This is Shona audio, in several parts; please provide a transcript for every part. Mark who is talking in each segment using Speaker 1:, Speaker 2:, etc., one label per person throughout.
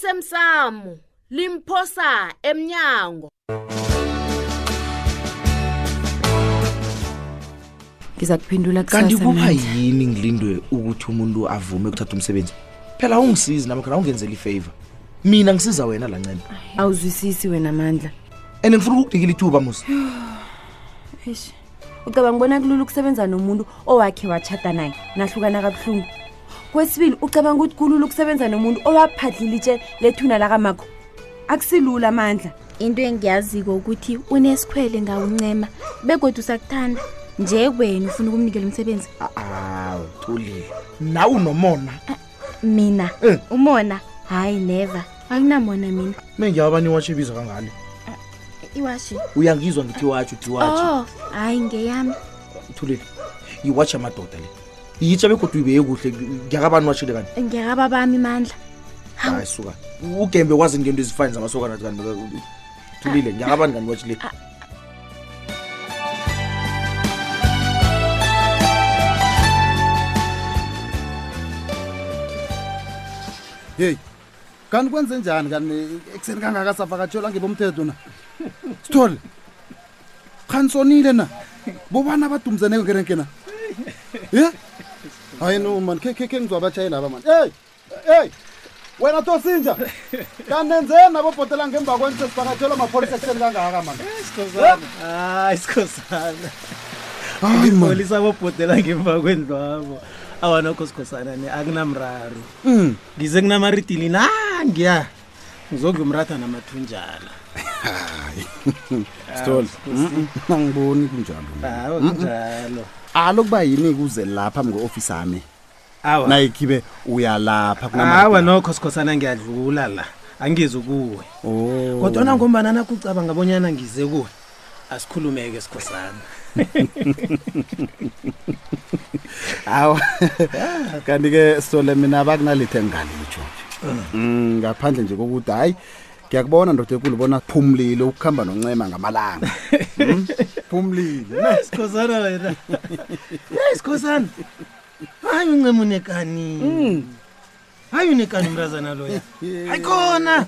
Speaker 1: osemsamo limphosa emnyango
Speaker 2: ngiza kuphendula
Speaker 3: kanti
Speaker 2: kusasa
Speaker 3: kuba
Speaker 2: mnandi.
Speaker 3: yini ngilindwe ukuthi umuntu avume ukuthatha umsebenzi phela awungisizi namkhana awungenzela ifavor mina ngisiza wena la ncema
Speaker 2: awuzwisisi wena mandla
Speaker 3: and ngifuna ukukunikela ithuba musa
Speaker 2: Eish, ucabanga ubona kulula ukusebenza nomuntu owakhe watshata naye nahlukana kabuhlungu kwesibili ucabanga ukuthi kulula ukusebenza nomuntu owaphadlile itshe lethuna lakamakho akusilula amandla
Speaker 4: into engiyaziko ukuthi unesikhwele ngawuncema begodwa usakuthanda nje wena ufuna ukumnikela umsebenzi
Speaker 3: aw thulile nawe unomona
Speaker 4: mina
Speaker 3: Eh.
Speaker 4: umona hayi never akunamona mina
Speaker 3: mengiyabani iwatshi ibiza kangale
Speaker 4: iwashi
Speaker 3: uyangizwa ngithi iwatshi uthi iwatshi
Speaker 4: oh hayi ngeyami
Speaker 3: thulile yiwatshi amadoda le yitsha begodwa uyibeye kuhle ngiyakabani watshile kanti
Speaker 4: ngiyakaba bami mandla
Speaker 3: hayi suka ugembe kwazi ngento ezifani zamasokana kanti thulile ngiyakabani kanti watshile
Speaker 5: heyi kanti kwenze njani kani ekuseni kangaka savakatshelwa ngebomthetho na sithole khanisonile na bobani abadumzeneko ngerenke na ye hayi no mani khe khe ngizwabatshayeli aba mani eyi eyi wena tosinja kanenzeni nabobhotela ngemva kwenu sesivakatshelwa mapolisa ekuseni kangaka mani
Speaker 6: sikhosana hayi sikhosana
Speaker 5: hayi mani
Speaker 6: polisa bobhodela ngemva kwendlu abo awanokho sikhosana ne akunamraru
Speaker 5: Mm.
Speaker 6: ngize kunamaridili nangiya ngizokudla umratha namathunjana
Speaker 5: sithole Mm, mm, angiboni kunjalo
Speaker 6: hawo kunjalo
Speaker 5: alokuba yini-ke uze lapha mnge-ofisi ami
Speaker 6: awa
Speaker 5: nayikhibe uyalapha
Speaker 6: hawa nokho sikhosana ngiyadlula la angizi kuwe
Speaker 5: Oh.
Speaker 6: kodwana ngombana nakucabanga bonyana ngize kuwe asikhulumeke sikhosana
Speaker 5: hawa kanti-ke sole mina bakunalitho engingalitsho nje. Mm, ngaphandle nje kokuthi hayi ngiyakubona ndoda enkulu bona phumlile ukuhamba noncema ngamalanga Mm, phumlile
Speaker 6: Eh, sikhosana wena Eh, sikhosana hayi uncema unekani hayi unekani umrazana loya hayi khona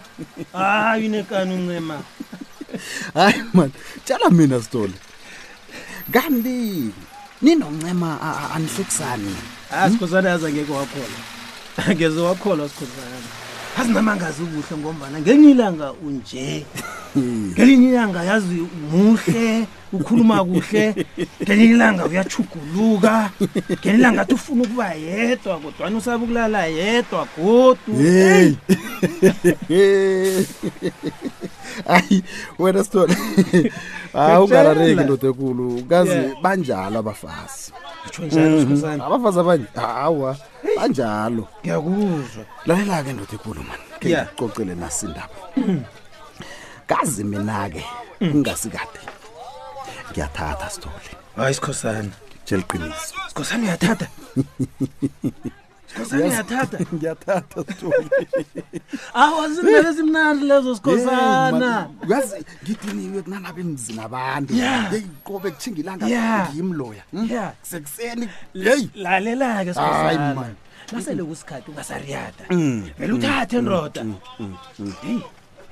Speaker 6: hayi unekani uncema
Speaker 5: hayi mani tshela mina sitole kanti ninoncema a- a- anihlekisani
Speaker 6: hayi sikhosana yazi angeke wakholwa angeze wakholwa sikhosana azinamangazi ubuhle ngombana ngenye ilanga unje ngelinye ilanga yazi muhle ukhuluma kuhle ngelinye ilanga uyachuguluka ngelinye ilanga athi ufuna ukuba yedwa kodwani usabe ukulala yedwa godu
Speaker 5: hey hayi wena sitole hawu ungarareki
Speaker 6: Ngiyakutshela.
Speaker 5: ndoda enkulu kazi
Speaker 6: Yeah.
Speaker 5: banjalo abafazi
Speaker 6: utsho njalo sikhosana
Speaker 5: abafazi abanye hawa banjalo
Speaker 6: ngiyakuzwa
Speaker 5: lalela-ke ndoda ekulu mani ke
Speaker 6: Yeah.
Speaker 5: ngicocele nasindaba kazi mina-ke kungasikade ngiyathatha sithole
Speaker 6: hayi sikhosana
Speaker 5: tsheliqiniso
Speaker 6: sikhosana uyathatha sikhosana uyathatha
Speaker 5: ngiyathatha sithole
Speaker 6: awazinele zimnandi lezo sikhosana
Speaker 5: uyazi ngidiniwe kunalaba emzini abantu
Speaker 6: Yeah.
Speaker 5: yeyi qobe kuthinga ilanga Hmm?
Speaker 6: Yeah.
Speaker 5: ngiyimloya
Speaker 6: Yeah.
Speaker 5: sekuseni yeyi
Speaker 6: lalela-ke
Speaker 5: Hayi,
Speaker 6: sikhosana
Speaker 5: man.
Speaker 6: nasele kusikhathi ungasariyada vele uthathe ndoda heyi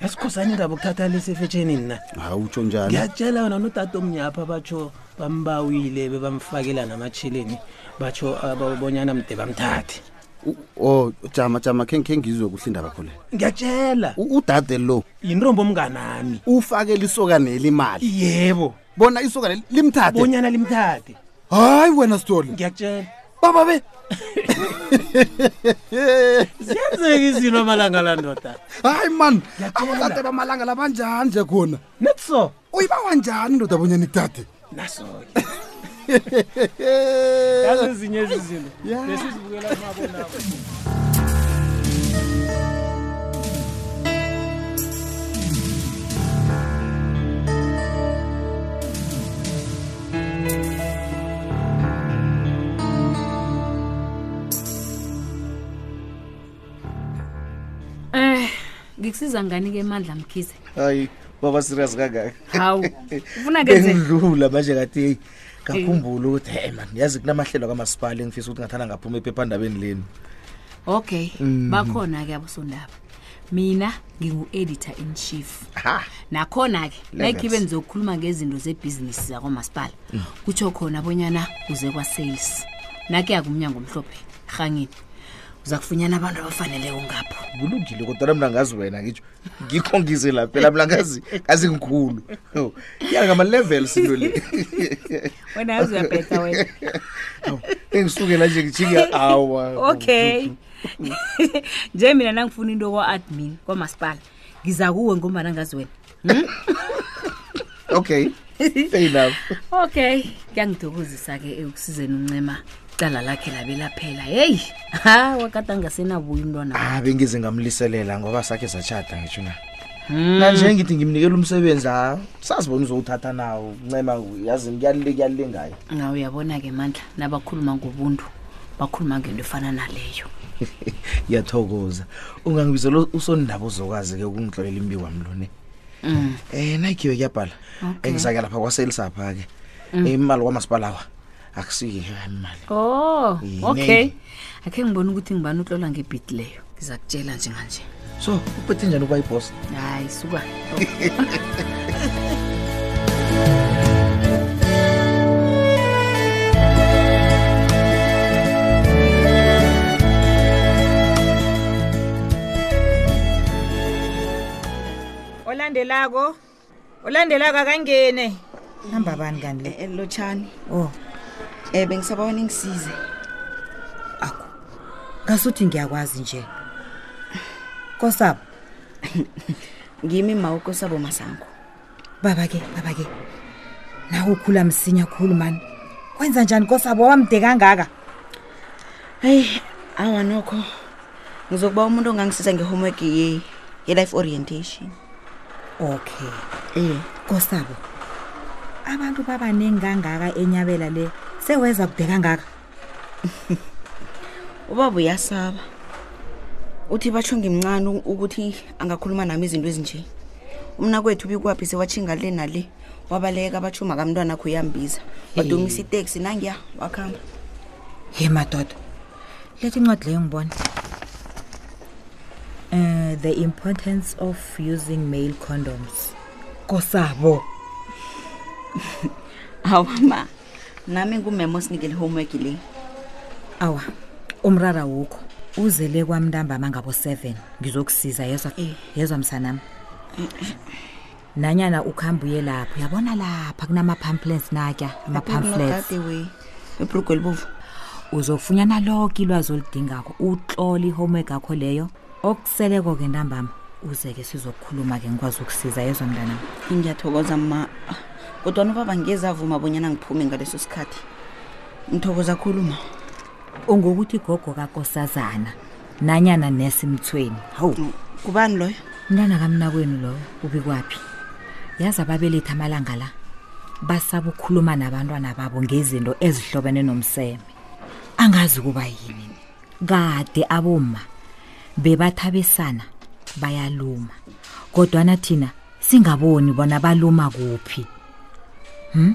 Speaker 6: yasikhosana indaba okuthatha lesefetshenini na
Speaker 5: awutsho njani
Speaker 6: ngiyatshela wena nodade omnyapha batsho bambawile bebamfakela namatsheleni batsho ababonyana mde bamthathe
Speaker 5: o oh, jama jama khe khe ngizwe kuhle indaba khole
Speaker 6: ngiyatshela
Speaker 5: U- udade lo
Speaker 6: yintombi omnganami
Speaker 5: ufakele isokaneli imali
Speaker 6: yebo
Speaker 5: bona isokaneli limthathe
Speaker 6: bonyana limthathe
Speaker 5: hayi wena sithole
Speaker 6: ngiyakutshela
Speaker 5: baba be
Speaker 6: ziyenzeka izinto amalanga la ndoda
Speaker 5: hayi mani
Speaker 6: Ngiyatshela.
Speaker 5: abadade bamalanga labanjani nje khona
Speaker 6: netso
Speaker 5: uyibawa njani indoda abonyana ikudade
Speaker 6: naso-ke ezinye ezizinto
Speaker 5: Yeah.
Speaker 6: besizibukela kumabonako
Speaker 7: Eh, ngikusiza ngani-ke mandla mkhize
Speaker 3: hayi baba serious kangaka
Speaker 7: hawu ufuna kenze
Speaker 3: bengidlula manje kathi heyi ngakhumbula ukuthi hey man yazi kunamahlelo kamasipala engifisa ukuthi ngathanda ngaphuma ephephandabeni leni
Speaker 2: okay bakhona-ke abosondaba mina ngingu-editor in chief
Speaker 3: Ha.
Speaker 2: nakhona-ke
Speaker 3: Levels.
Speaker 2: nakhibe nizokhuluma ngezinto zebhizinisi zakomasipala kutsho khona bonyana uze kwa-sales nakuya kumnyango omhlophe rhangini uza kufunyana abantu abafaneleko ngapho
Speaker 3: kulungile kodwana mna ngazi wena ngitsho ngikho ngize la phela mna ngazi ngazi ngikhulu Yo, iya ngama-levels into le
Speaker 1: wena yazi uyabheda wena
Speaker 3: engisukela nje ngijhinga awa
Speaker 1: okay nje mina nangifuna into kwa-admin kwamasipala ngiza kuwe ngombana ngazi wena
Speaker 3: okay fair enough
Speaker 2: okay kuyangithokozisa-ke eh, ukusizeni uncema icala lakhe labe laphela heyi hawa kade angasenabuyo umntwana
Speaker 3: ah bengize ngamliselela ngoba sakhe satshata ngitsho na nanje ngithi ngimnikela umsebenzi ha sazibona uzowuthatha nawo ncema yazi kuyalile kuyalile ngayo
Speaker 2: ngaw uyabona-ke mandla nabakhuluma ngobuntu bakhuluma ngento efana naleyo
Speaker 3: ngiyathokoza ungangibizela usondaba uzokwazi-ke ukungihlolela imbi wami lone um nayikhiwe kuyabhala engisake lapha kwaselisapha-ke imali kwamasipalawa akusike imali
Speaker 2: oh
Speaker 3: Yini?
Speaker 2: okay akhe ngibona ukuthi ngibani utlola ngebhidi leyo ngiza kutshela njenganje
Speaker 3: so uphethe njani ukuba ibhosi
Speaker 2: hayi suka
Speaker 8: olandelako olandelako akangene hamba bani Oh. kani
Speaker 9: Eh,
Speaker 8: le
Speaker 9: elilotshani
Speaker 8: o
Speaker 9: um bengisaba ningisize
Speaker 8: akho ngasuthi ngiyakwazi nje kosabo
Speaker 9: ngimi mawuko sabo masango
Speaker 8: baba ke baba ke nawe ukhula msinya khulu mani kwenza njani kosabo wamde kangaka
Speaker 9: hayi awa nokho ngizokuba umuntu ongangisiza nge-homework ye- ye-life orientation
Speaker 8: okay
Speaker 9: iye
Speaker 8: kosabo abantu babaningi kangaka enyabela le seweza kude kangaka
Speaker 9: ubaba uyasaba uthi batsho ngimncane u- ukuthi angakhuluma nami izinto ezinje umna kwethu ubikwaphi sewatshinga le nale wabaleka batsho makamntwana akho uyambiza wadumisa iteksi nangiya wakhamba
Speaker 8: ye madoda letha incwadi leyo ngibone um the importance of using male condoms kosabo
Speaker 9: awama nami ngumema osinikele homework le
Speaker 8: awa umrara wukho uzele kwamntambama ngabo-seven ngizokusiza yezwa
Speaker 9: Eh.
Speaker 8: yezwa msanami nanyana ukuhambe uye lapho uyabona lapha kunama-pamphlets natya ama-pamphlets
Speaker 9: kunogade we ebrugu elibovu
Speaker 8: uzofunyana lonke ilwazi oludingako utlole ihomework akho leyo okuseleko-ke ntambama uze-ke sizokukhuluma-ke ngikwazi ukusiza yezwa mntanami
Speaker 9: ngiyathokoza ma kodwana ubaba ngeze avuma bonyana ngiphume ngaleso sikhathi ngithokoza khulu ma
Speaker 8: ungokuthi igogo kakosazana nanyana nesimthweni hawu
Speaker 9: kubani loyo
Speaker 8: mntana kamnakwenu lowo ubikwaphi yazi ababelethi amalanga la basaba ukukhuluma nabantwana babo ngezinto ezihlobene nomseme angazi kuba yini kade aboma bebathabisana bayaluma kodwana thina singaboni bona baluma kuphi hm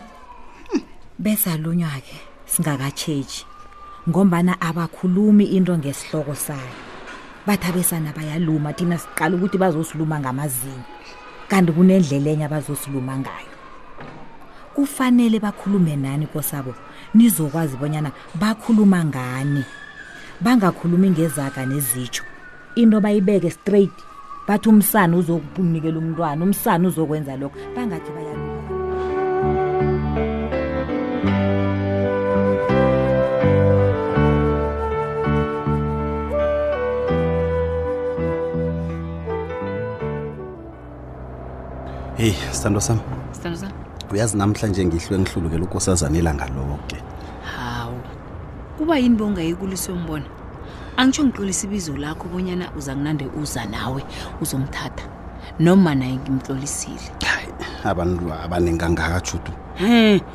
Speaker 8: besalunywa-ke singakatshetshi ngombana abakhulumi into ngesihloko sayo bathabesana bayaluma thina siqala ukuthi bazosiluma ngamazinyo kanti kunendlela enye abazosiluma ngayo kufanele bakhulume nani kosabo nizokwazi bonyana bakhuluma ngani bangakhulumi ngezaga nezitsho into bayibeke straight bathi umsana uzokunikela umntwana umsana uzokwenza lokho bangathi bayaluma
Speaker 10: heyi sithandwa sami
Speaker 2: sithando sam
Speaker 10: uyazi namhlanje ngihlwe ngihlulukela ukosazana ilanga loke
Speaker 2: hawu kuba yini bongayikulisa yombona angitsho ngitlolisa ibizo lakho bonyana uza kunande uza nawe uzomthatha noma naye ngimtlolisile
Speaker 10: hayi abantu abaningi kangaka judu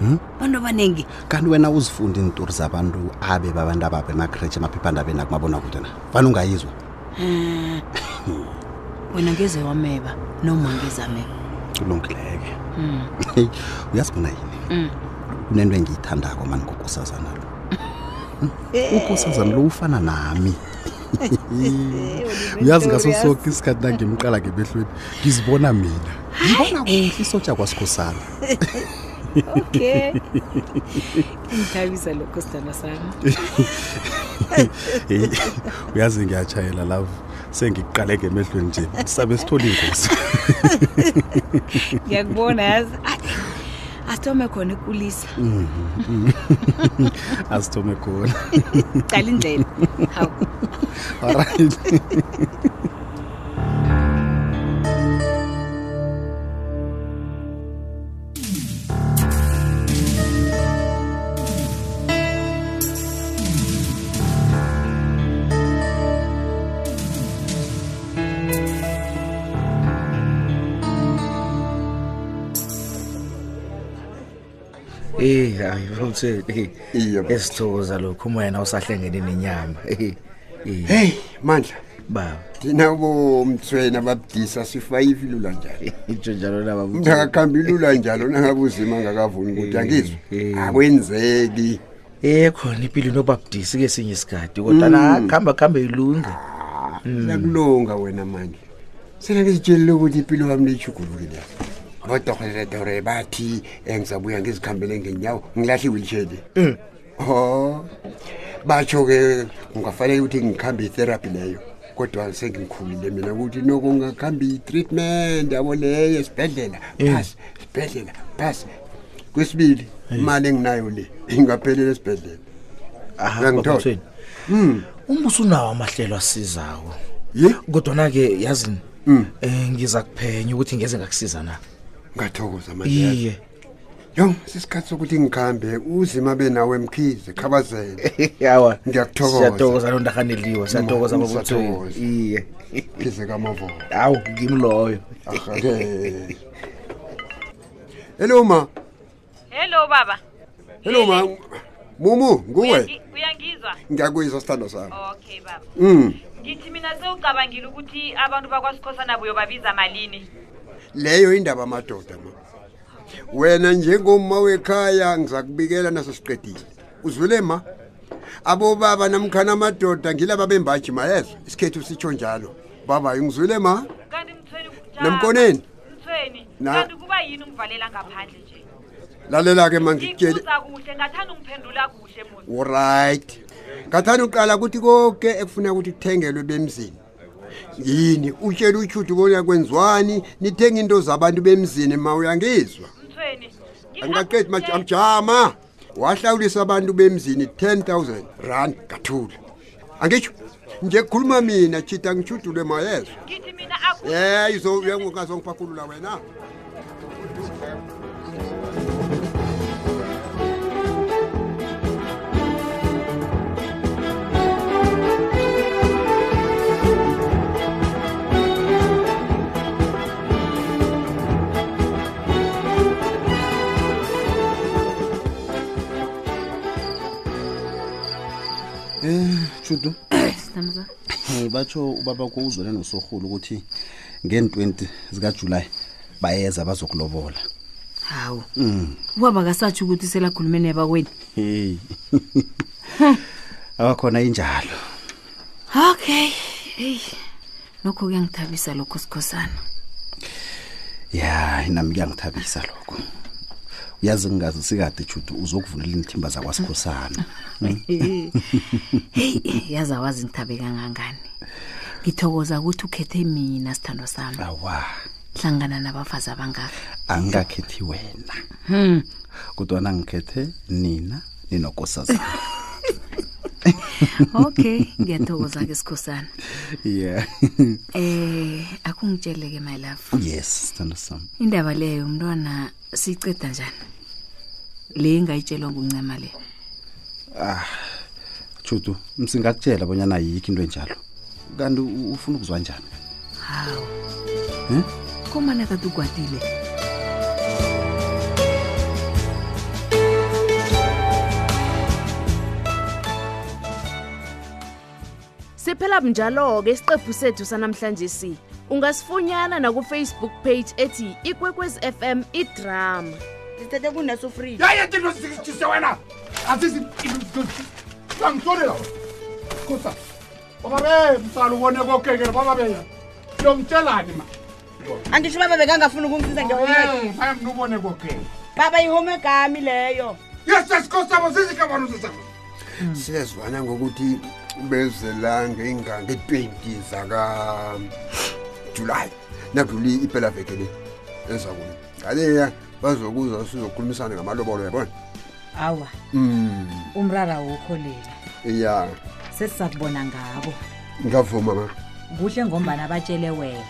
Speaker 2: um bantu abaningi
Speaker 10: kanti wena uzifunde iintori zabantu abe babantu ababo emakreshi emaphephandabeni akumabona kude na fane ungayizwa
Speaker 2: wena ngeze wameba noma ngezameba
Speaker 10: ulungileke
Speaker 1: Hmm.
Speaker 10: Hey, uyazi bona yini kunento engiyithandako mani ngokosazana lo ukosazana lo ufana nami uyazi ngaso soke isikhathi nangimqala ngebehlweni ngizibona mina ngibona kuhle isotsha kwasikhosana
Speaker 1: okay ngithabisa lokho sidana sami
Speaker 10: Hey, uyazi ngiyatshayela love sengikuqale ngemehlweni nje sabe sithole ingozi
Speaker 1: ngiyakubona yazi Ayi, asithome khona ekulisa
Speaker 10: Mhm. asithome khona
Speaker 1: cala indlela hawu
Speaker 10: alright
Speaker 3: Eh hayi futhi eh, esithokoza lokho uma yena usahlengene nenyama. Eh,
Speaker 5: Hey mandla
Speaker 3: baba
Speaker 5: thina bomthwena babudisa sifayifilula njalo
Speaker 3: itsho njalo laba
Speaker 5: umuntu akakhambelula njalo nangabuzima ngakavuni ukuthi angizwe akwenzeki
Speaker 3: Eh khona impilo nobabudisi ke sinye isikhathi kodwa
Speaker 5: Mm.
Speaker 3: la khamba khamba ilunga.
Speaker 5: lakulunga wena mandla sena ngizitshelile ukuthi impilo yami leyijugulukile bodoholetore bathi eh, ngizabuya ngizikhambele ngenyawo ngilahle i-wheelchair le
Speaker 3: Mm.
Speaker 5: o batsho-ke kungafanele ukuthi ngikhambe itherapy leyo kodwa sengingikhulile mina ukuthi noko ngakhambe i-treatment yabo leyo esibhedlela
Speaker 3: Eh.
Speaker 5: phasi sibhedlela phasi kwesibili imali enginayo le ingaphelela esibhedlela
Speaker 3: Baba Mthweni,
Speaker 10: Hmm.
Speaker 3: umbuso unawo amahlelo asizayo kodwana ke yazini
Speaker 10: Hmm.
Speaker 3: eh ngiza kuphenya ukuthi ngeze ngakusiza na
Speaker 5: ngathokoza
Speaker 3: iye
Speaker 5: yo sisikhathi sokuthi ngikhambe uzima benawo emkhize khabazele
Speaker 3: yawa
Speaker 5: ngiyakuthokoza
Speaker 3: siyathokoza lonto
Speaker 10: Hmm,
Speaker 3: akaneliwe siyathokoza
Speaker 5: Mm,
Speaker 3: baba Mthweni.
Speaker 5: siyathokoza.
Speaker 3: iye
Speaker 5: phize kamavoa
Speaker 3: hawu ngimi loyo
Speaker 5: Arhake. hello ma
Speaker 11: hello baba
Speaker 5: hello ma mumu nguwe
Speaker 11: uyangizwa
Speaker 5: ngiyakuyizwa sithando sami
Speaker 11: okay baba
Speaker 5: um
Speaker 11: ngithi mina sewucabangile ukuthi abantu bakwasikhosana buyobabiza malini
Speaker 5: leyo indaba amadoda ma wena njengoma wekhaya ngiza kubikela naso siqedile uzwile ma abobaba namkhana amadoda ngilaba bembaji mayezwa isikhethu sitsho njalo babayo ngizwile ma
Speaker 11: kanti mthweni kujama-
Speaker 5: namkoneni
Speaker 11: mthweni
Speaker 5: Na.
Speaker 11: kanti kuba yini ungivalela ngaphandle nje
Speaker 5: lalela-ke mangikutshele
Speaker 11: ngikuza kuhle ngathanda ungiphendula kuhle mos
Speaker 5: oright ngathanda uqala ukuthi konke ekufuneka ukuthi kuthengelwe bemzini yini utshele utshuthi bona kwenziwani nithenga into zabantu bemzini ma uyangizwa
Speaker 11: mthweni
Speaker 5: angingaqedi majama wahlawulisa abantu bemzini 10000 rand ngathula angitsho nje kukhuluma mina chita ngishudulwe mayezwa
Speaker 11: ngithi mina aku
Speaker 5: yeyi zongazongiphakulula wena
Speaker 10: um judu
Speaker 2: Sithandwa.
Speaker 10: um batsho ubaba kouzwele nosorhulu ukuthi ngen-20 zikajulayi bayeza bazokulobola
Speaker 2: hawu
Speaker 10: um
Speaker 2: ubaba kasatsho ukuthi selakhulume nebakwenu
Speaker 10: heyi abakhona injalo
Speaker 2: okay eyi lokho kuyangithabisa lokho sikhosana
Speaker 10: ya nami kuyangithabisa lokho uyazi ngingazi sikade judu uzokuvulela inithimba zakwasikhosana
Speaker 2: heyi yazi awazi ngithabe kangangani ngithokoza ukuthi ukhethe mina sithandwa sami
Speaker 10: awa
Speaker 2: hlangana nabafazi abangaka
Speaker 10: angikakhethi wena
Speaker 2: hmm.
Speaker 10: kodwana ngikhethe nina ninokosazana
Speaker 2: okay ngiyathokoza ke sikhosana
Speaker 10: yeah
Speaker 2: eh akungitshele ke my love
Speaker 10: yes sithando sam
Speaker 2: indaba leyo umntwana siyiceda njani le engayitshelwa nguncema le
Speaker 10: ah chutu msingakutshela bonyana yikho into enjalo kanti u- ufuna ukuzwa njani
Speaker 2: hawu
Speaker 10: Hmm?
Speaker 2: komana tata ugwatile
Speaker 12: siphela njalo-ke isiqephu sethu sanamhlanje si ungasifunyana nakufacebook page ethi ikwekwezi fm idrama
Speaker 9: sithethe kuneso free
Speaker 13: yayetinosikisise wena azizi angitolela kosa
Speaker 14: bababe msala ubone kokekele bababe yomtshelani ma
Speaker 9: angisho ubaba bekangafuni ukungisiza
Speaker 14: Eh, hayi mna ubone kokekele
Speaker 9: baba yihomegami leyo
Speaker 14: yesesikhosabo sizikabani uzizabo
Speaker 5: Hmm. siyazwana ngokuthi bezelange ingange 20 zaka July nakudluli iphela veke le ezakuni ngaleya bazokuza sizokhulumisana ngamalobolo yabona
Speaker 8: awa
Speaker 5: mm
Speaker 8: umrara wokho lela
Speaker 5: ya
Speaker 8: sesizakubona ngabo
Speaker 5: ngavuma ma
Speaker 8: kuhle ngombana batshele wena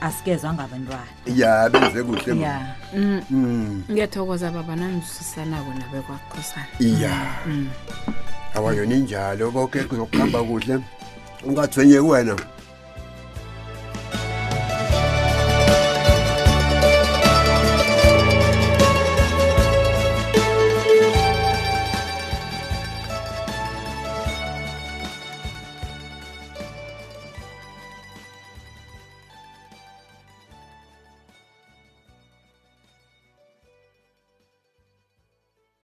Speaker 8: asikezwa ngabantwana
Speaker 5: ya benze kuhle ma
Speaker 8: ya
Speaker 5: mm
Speaker 2: ngiyathokoza baba nanisusanako nabekwakhosana
Speaker 5: ya awayona injalo konke kuzokuhamba kuhle ungathwenye wena